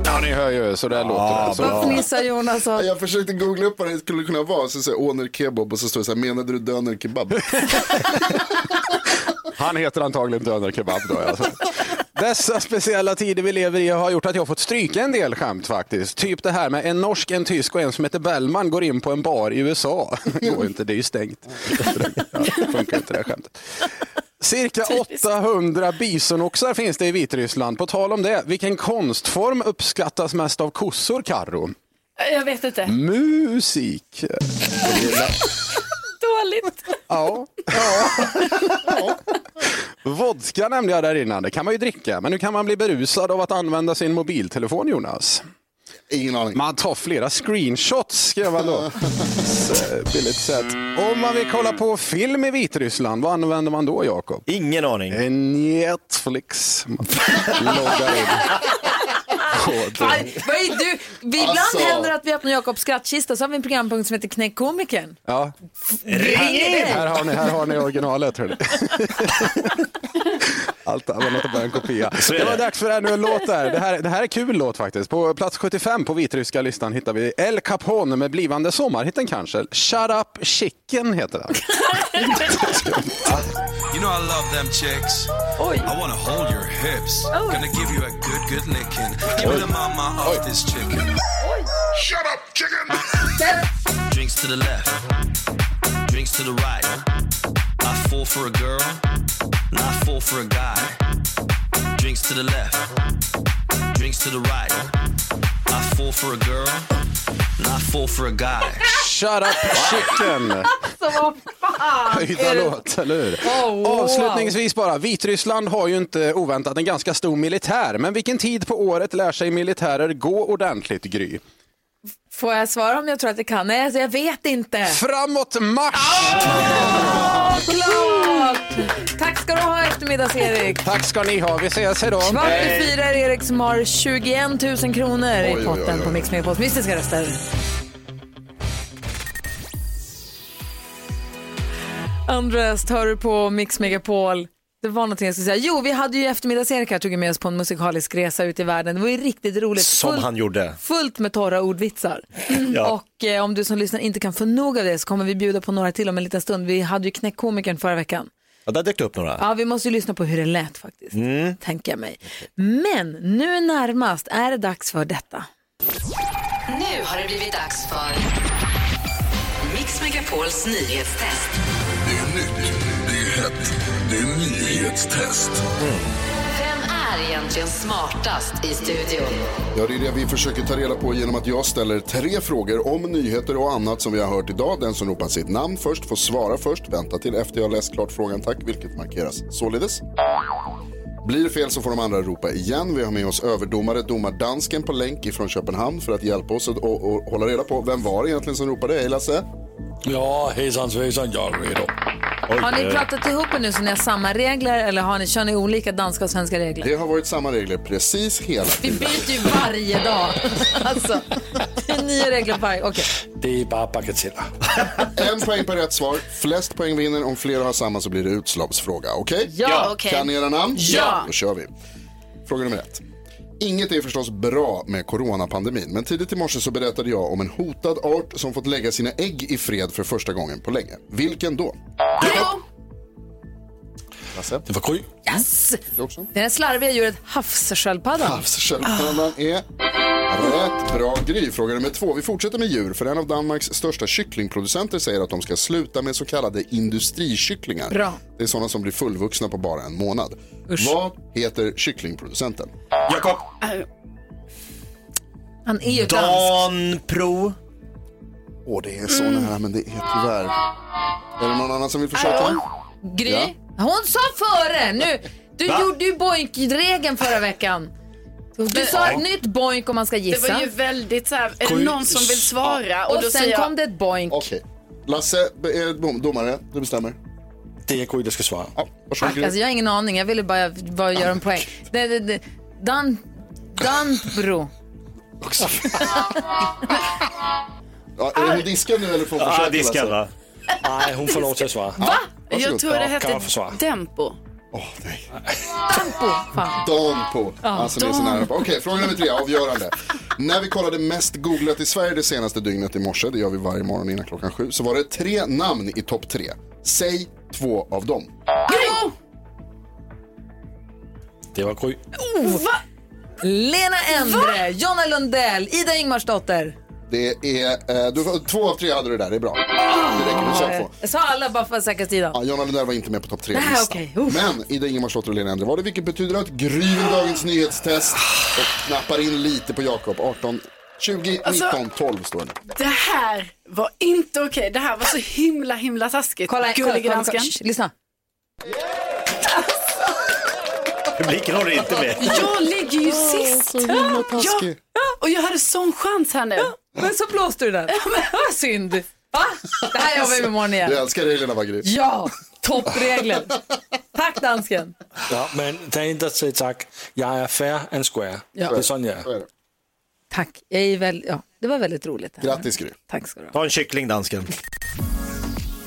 [SPEAKER 17] Ja, ni hör ju, så där låter det. Så-
[SPEAKER 1] Jonas
[SPEAKER 5] Jag försökte googla upp vad det skulle kunna vara, så säger jag åner kebab och så står det så här, menade du döner kebab?
[SPEAKER 17] Han heter antagligen Dönerkebab då. Alltså. Dessa speciella tider vi lever i har gjort att jag fått stryka en del skämt faktiskt. Typ det här med en norsk, en tysk och en som heter Bellman går in på en bar i USA. Går inte, det är ju stängt. Ja, det funkar inte det här skämtet. Cirka 800 bisonoxar finns det i Vitryssland. På tal om det, vilken konstform uppskattas mest av kossor, Karro?
[SPEAKER 3] Jag vet inte.
[SPEAKER 19] Mm.
[SPEAKER 17] Musik.
[SPEAKER 3] Dåligt.
[SPEAKER 17] Ja. Vodka nämnde jag där innan, det kan man ju dricka. Men hur kan man bli berusad av att använda sin mobiltelefon Jonas?
[SPEAKER 5] Ingen aning.
[SPEAKER 17] Man tar flera screenshots skrev han då. Så, Billigt sett. Om man vill kolla på film i Vitryssland, vad använder man då Jakob?
[SPEAKER 2] Ingen aning.
[SPEAKER 17] Netflix. Man loggar in. På det.
[SPEAKER 1] Aj, vad är du? Vi ibland
[SPEAKER 17] Alltså.
[SPEAKER 1] händer att vi öppnar Jakobs skrattkista så har vi en programpunkt som heter Knäck komikern.
[SPEAKER 17] Ja.
[SPEAKER 1] in!
[SPEAKER 17] Här har ni, här har ni originalet. Hörde. Allt annat är bara en kopia.
[SPEAKER 11] Så är
[SPEAKER 17] Det var
[SPEAKER 11] det.
[SPEAKER 17] dags för ännu en låt där. Det här, det här är kul låt faktiskt. På plats 75 på vitryska listan hittar vi El Capone med blivande sommarhitten kanske. Shut Up Chicken heter den.
[SPEAKER 19] You know I love them chicks. I wanna hold your hips. Gonna give you a good, good licking. Give me the mama of this chicken.
[SPEAKER 18] Shut up chicken
[SPEAKER 19] Drinks to the left, drinks to the right. I fall for a girl, not fall for a guy. Drinks to the left, drinks to the right. I fall for a girl, not fall for a guy.
[SPEAKER 17] Shut Up Chicken.
[SPEAKER 1] Alltså vad fan
[SPEAKER 17] Höjda
[SPEAKER 1] är det?
[SPEAKER 17] låt, eller hur?
[SPEAKER 1] Oh, wow.
[SPEAKER 17] Avslutningsvis bara, Vitryssland har ju inte oväntat en ganska stor militär. Men vilken tid på året lär sig militärer gå ordentligt, Gry?
[SPEAKER 1] Får jag svara om jag tror att det kan? Nej, alltså, jag vet inte.
[SPEAKER 17] Framåt mars!
[SPEAKER 1] Såklart! Tack ska du ha eftermiddags-Erik.
[SPEAKER 17] Tack ska ni ha, vi ses idag.
[SPEAKER 1] Kvart i fyra är Erik som har 21 000 kronor
[SPEAKER 17] Oj,
[SPEAKER 1] i
[SPEAKER 17] oj,
[SPEAKER 1] potten
[SPEAKER 17] oj, oj.
[SPEAKER 1] på Mix Megapols mystiska röster. Andres, hör du på Mix Megapol? Det var någonting jag skulle säga. Jo, vi hade ju eftermiddags-Erik här tog med oss på en musikalisk resa ut i världen. Det var ju riktigt roligt.
[SPEAKER 2] Som
[SPEAKER 1] Fullt-
[SPEAKER 2] han gjorde.
[SPEAKER 1] fullt med torra ordvitsar.
[SPEAKER 2] Ja.
[SPEAKER 1] Och eh, om du som lyssnar inte kan få nog av det så kommer vi bjuda på några till om en liten stund. Vi hade ju knäckkomikern förra veckan.
[SPEAKER 2] Ja, där dök det upp några.
[SPEAKER 1] Ja, vi måste ju lyssna på hur det lät faktiskt,
[SPEAKER 2] Mm.
[SPEAKER 1] tänker jag mig. Men nu närmast är det dags för detta.
[SPEAKER 6] Nu har det blivit dags för Mix Megapols nyhetstest.
[SPEAKER 14] Det är nytt, det är hett, det är nyhetstest.
[SPEAKER 6] Vem är egentligen smartast i studion?
[SPEAKER 5] Ja, det är det vi försöker ta reda på genom att jag ställer tre frågor om nyheter och annat som vi har hört idag. Den som ropar sitt namn först får svara först. Vänta till efter jag läst klart frågan, tack, vilket markeras således. Blir det fel så får de andra ropa igen. Vi har med oss överdomare, domardansken på länk ifrån Köpenhamn för att hjälpa oss att och, och hålla reda på vem var det egentligen som ropade. Hej Lasse!
[SPEAKER 4] Ja, hejsan svejsan, jag är redo.
[SPEAKER 1] Har ni pratat ihop er nu så ni har samma regler eller har ni, kör ni olika danska och svenska regler?
[SPEAKER 5] Det har varit samma regler precis hela
[SPEAKER 1] Vi
[SPEAKER 5] tiden.
[SPEAKER 1] byter ju varje dag. Alltså, det är nya regler varje... Okej.
[SPEAKER 5] Det är bara bagateller. en poäng per rätt svar. Flest poäng vinner. Om flera har samma så blir det utslagsfråga. Okej?
[SPEAKER 1] Ja, okej.
[SPEAKER 5] Kan ni era namn?
[SPEAKER 1] Ja.
[SPEAKER 5] Då kör vi. Fråga nummer ett. Inget är förstås bra med coronapandemin, men tidigt i morse så berättade jag om en hotad art som fått lägga sina ägg i fred för första gången på länge. Vilken då? Lasse? Det var Gry.
[SPEAKER 1] Yes!
[SPEAKER 5] Det också.
[SPEAKER 1] Det här slarviga djuret havssköldpaddan.
[SPEAKER 5] Havssköldpaddan är rätt bra Gry. Fråga nummer två. Vi fortsätter med djur, för en av Danmarks största kycklingproducenter säger att de ska sluta med så kallade industrikycklingar.
[SPEAKER 1] Bra.
[SPEAKER 5] Det är sådana som blir fullvuxna på bara en månad. Vad heter kycklingproducenten?
[SPEAKER 2] Jakob.
[SPEAKER 3] Äh,
[SPEAKER 1] Han är ju dansk.
[SPEAKER 2] Dan Pro.
[SPEAKER 5] Åh, det är så nära, men det är tyvärr... Är det någon annan som vill försöka?
[SPEAKER 1] Hallå? Gry?
[SPEAKER 5] Ja.
[SPEAKER 1] Hon sa före! Nu, du
[SPEAKER 5] Va?
[SPEAKER 1] gjorde ju boink-regeln förra veckan. Du sa
[SPEAKER 3] Ja.
[SPEAKER 1] ett nytt boink om man ska
[SPEAKER 3] Det
[SPEAKER 1] gissa.
[SPEAKER 3] var ju väldigt så här, är det
[SPEAKER 5] Sju-
[SPEAKER 3] någon som vill svara?
[SPEAKER 1] Och,
[SPEAKER 3] Och då
[SPEAKER 1] sen
[SPEAKER 3] säger
[SPEAKER 1] kom
[SPEAKER 3] jag,
[SPEAKER 1] det ett boink.
[SPEAKER 5] Okej. Lasse, är dom- domare, du bestämmer. Det är Gry som ska svara. Ja, varsågod Gry.
[SPEAKER 1] Alltså, jag har ingen aning, jag ville bara, bara göra en poäng. Det, det, det. Dan, Danbro.
[SPEAKER 5] Ja, är det hon diskad nu eller får hon
[SPEAKER 13] Ja,
[SPEAKER 5] försöka? Lasse?
[SPEAKER 13] diskad, va? Nej, hon får lov till att svara.
[SPEAKER 5] Va?
[SPEAKER 3] jag tror det hette Dempo.
[SPEAKER 1] Tempo. Fan.
[SPEAKER 5] Dan på.
[SPEAKER 3] Ja,
[SPEAKER 5] Alltså, det är så
[SPEAKER 3] Dan.
[SPEAKER 5] nära på. Okej, fråga nummer tre, avgörande. När vi kollade mest googlat i Sverige det senaste dygnet i morse, det gör vi varje morgon innan klockan sju, så var det tre namn i topp tre. Säg två av dem.
[SPEAKER 13] Det var Gry.
[SPEAKER 1] Oh. Lena Endre, Jonna Lundell, Ida Ingmarsdotter.
[SPEAKER 5] Det är, eh, du, två av tre hade du där, det är bra. Det räcker, du sa två.
[SPEAKER 1] Jag sa alla bara för att säkra tiden.
[SPEAKER 5] Ja, Jonna Lundell var inte med på topp tre
[SPEAKER 1] Nej,
[SPEAKER 5] listan.
[SPEAKER 1] okej,
[SPEAKER 5] Men Ida Ingemarsdotter och Lena Endre var det, vilket betyder att Gry vinner dagens nyhetstest och knappar in lite på Jakob. 18, 20,
[SPEAKER 3] Alltså-
[SPEAKER 5] 19, 12 står det nu.
[SPEAKER 3] Det här var inte okej. Det här var så himla, himla taskigt.
[SPEAKER 1] Kolla, kolla,
[SPEAKER 3] Gullige
[SPEAKER 1] kolla, kolla.
[SPEAKER 3] dansken.
[SPEAKER 1] Shh, lyssna.
[SPEAKER 2] Publiken håller inte med.
[SPEAKER 3] Jag ligger ju
[SPEAKER 1] Åh,
[SPEAKER 3] sist.
[SPEAKER 1] så himla
[SPEAKER 3] Ja,
[SPEAKER 1] taskig.
[SPEAKER 3] ja, och jag hade sån chans här nu.
[SPEAKER 1] Men så blåste du den. Vad synd. Va? Det här jobbar vi med imorgon igen.
[SPEAKER 5] Du älskar reglerna va Gry?
[SPEAKER 1] Ja, toppregler. Tack dansken.
[SPEAKER 13] Ja, men det är inte att säga tack. Jag är fair and square.
[SPEAKER 1] Ja.
[SPEAKER 13] Det är sån jag är.
[SPEAKER 1] Tack. Jag är väl, ja, det var väldigt roligt. det här.
[SPEAKER 5] Grattis Gry.
[SPEAKER 1] Tack ska du
[SPEAKER 2] Ta en kyckling dansken.